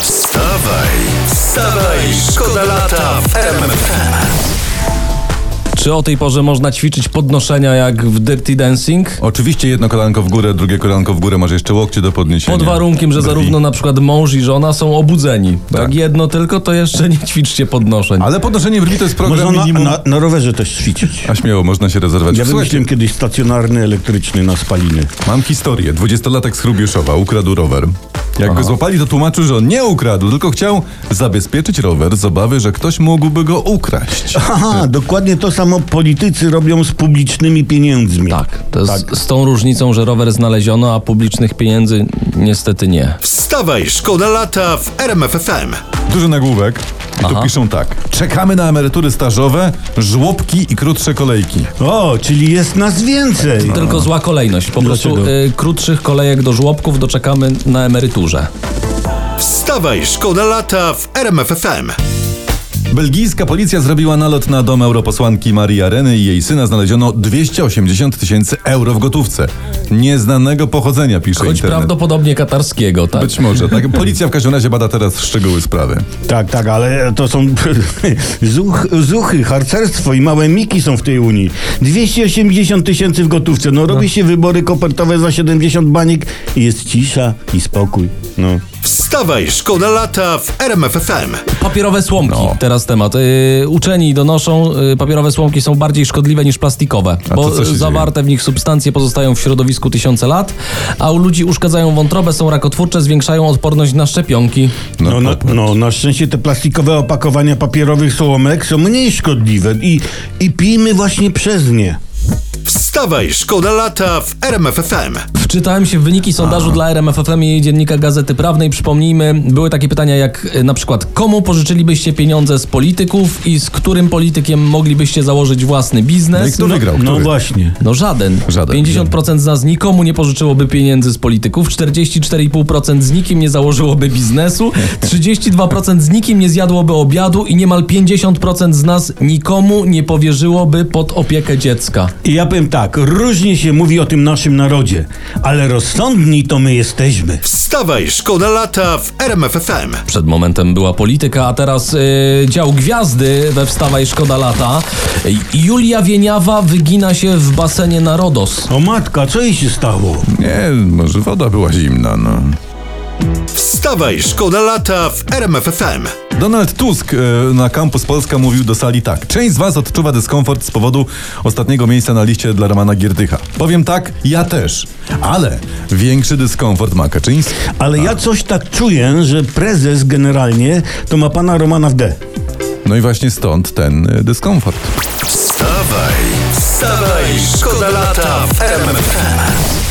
Wstawaj, wstawaj, szkoda lata w RMF. Czy o tej porze można ćwiczyć podnoszenia jak w Dirty Dancing? Oczywiście jedno kolanko w górę, drugie kolanko w górę, masz jeszcze łokcie do podniesienia. Pod warunkiem, że Brwi. zarówno na przykład mąż i żona są obudzeni. Tak. Jak Tak. jedno tylko, to jeszcze nie ćwiczcie podnoszeń. Ale podnoszenie brwi to jest Można program na, minimum. na, na rowerze też ćwiczyć. A śmiało, można się rezerwać. Ja Słuchajcie, wymyśliłem kiedyś stacjonarny elektryczny na spaliny. Mam historię. Dwudziestolatek z Hrubiuszowa ukradł rower. Jak go złapali, to tłumaczył, że on nie ukradł, tylko chciał zabezpieczyć rower z obawy, że ktoś mógłby go ukraść. Aha, dokładnie to samo politycy robią z publicznymi pieniędzmi. Tak, to jest z tą różnicą, że rower znaleziono, a publicznych pieniędzy niestety nie. Wstawaj, szkoda lata w RMF FM. Duży nagłówek. I tu piszą tak. Czekamy na emerytury stażowe, żłobki i krótsze kolejki. O, czyli jest nas więcej. Tylko zła kolejność. Po prostu Dlaczego? y, krótszych kolejek do żłobków doczekamy na emeryturze. Wstawaj, szkoda lata w RMF FM. Belgijska policja zrobiła nalot na dom europosłanki Marii Areny i jej syna znaleziono 280 tysięcy euro w gotówce. Nieznanego pochodzenia, pisze Choć internet. prawdopodobnie katarskiego, tak? Być może, tak. Policja w każdym razie bada teraz szczegóły sprawy. Tak, tak, ale to są zuch, zuchy, harcerstwo i małe miki są w tej Unii. 280 tysięcy w gotówce. No robi się wybory kopertowe za 70 baniek i jest cisza i spokój. No. Wstawaj, szkoda lata w RMF FM. Papierowe słomki, No, teraz temat. Y, uczeni donoszą, y, papierowe słomki są bardziej szkodliwe niż plastikowe, A bo to co się y, zawarte w nich substancje pozostają w środowisku tysiące lat, a u ludzi uszkadzają wątrobę, są rakotwórcze, zwiększają odporność na szczepionki. No, no, no, na szczęście te plastikowe opakowania papierowych słomek są mniej szkodliwe i, i pijmy właśnie przez nie. Wstawaj, szkoda lata w RMF FM. Wczytałem się w wyniki sondażu dla RMFFM i dziennika Gazety Prawnej. Przypomnijmy, były takie pytania jak y, na przykład komu pożyczylibyście pieniądze z polityków i z którym politykiem moglibyście założyć własny No i biznes? kto wygrał? Który? No właśnie. No żaden. Żaden. 50% z nas nikomu nie pożyczyłoby pieniędzy z polityków, 44,5% z nikim nie założyłoby biznesu, 32% z nikim nie zjadłoby obiadu i niemal 50% z nas nikomu nie powierzyłoby pod opiekę dziecka. I ja powiem tak, różnie się mówi o tym naszym narodzie, ale rozsądni to my jesteśmy. Wstawaj, szkoda lata w RMF FM. Przed momentem była polityka, a teraz yy, dział gwiazdy we Wstawaj Szkoda Lata. Julia Wieniawa wygina się w basenie na Rodos. O matka, co jej się stało? Nie, może woda była zimna, no. Wstawaj, szkoda lata w RMF FM. Donald Tusk e, na Campus Polska mówił do sali tak. Część z was odczuwa dyskomfort z powodu ostatniego miejsca na liście dla Romana Gierdycha. Powiem tak, ja też. Ale większy dyskomfort ma Kaczyński. Ale ja coś tak czuję, że prezes generalnie to ma pana Romana w D. No i właśnie stąd ten e, dyskomfort. Wstawaj, wstawaj, szkoda lata w RMF FM.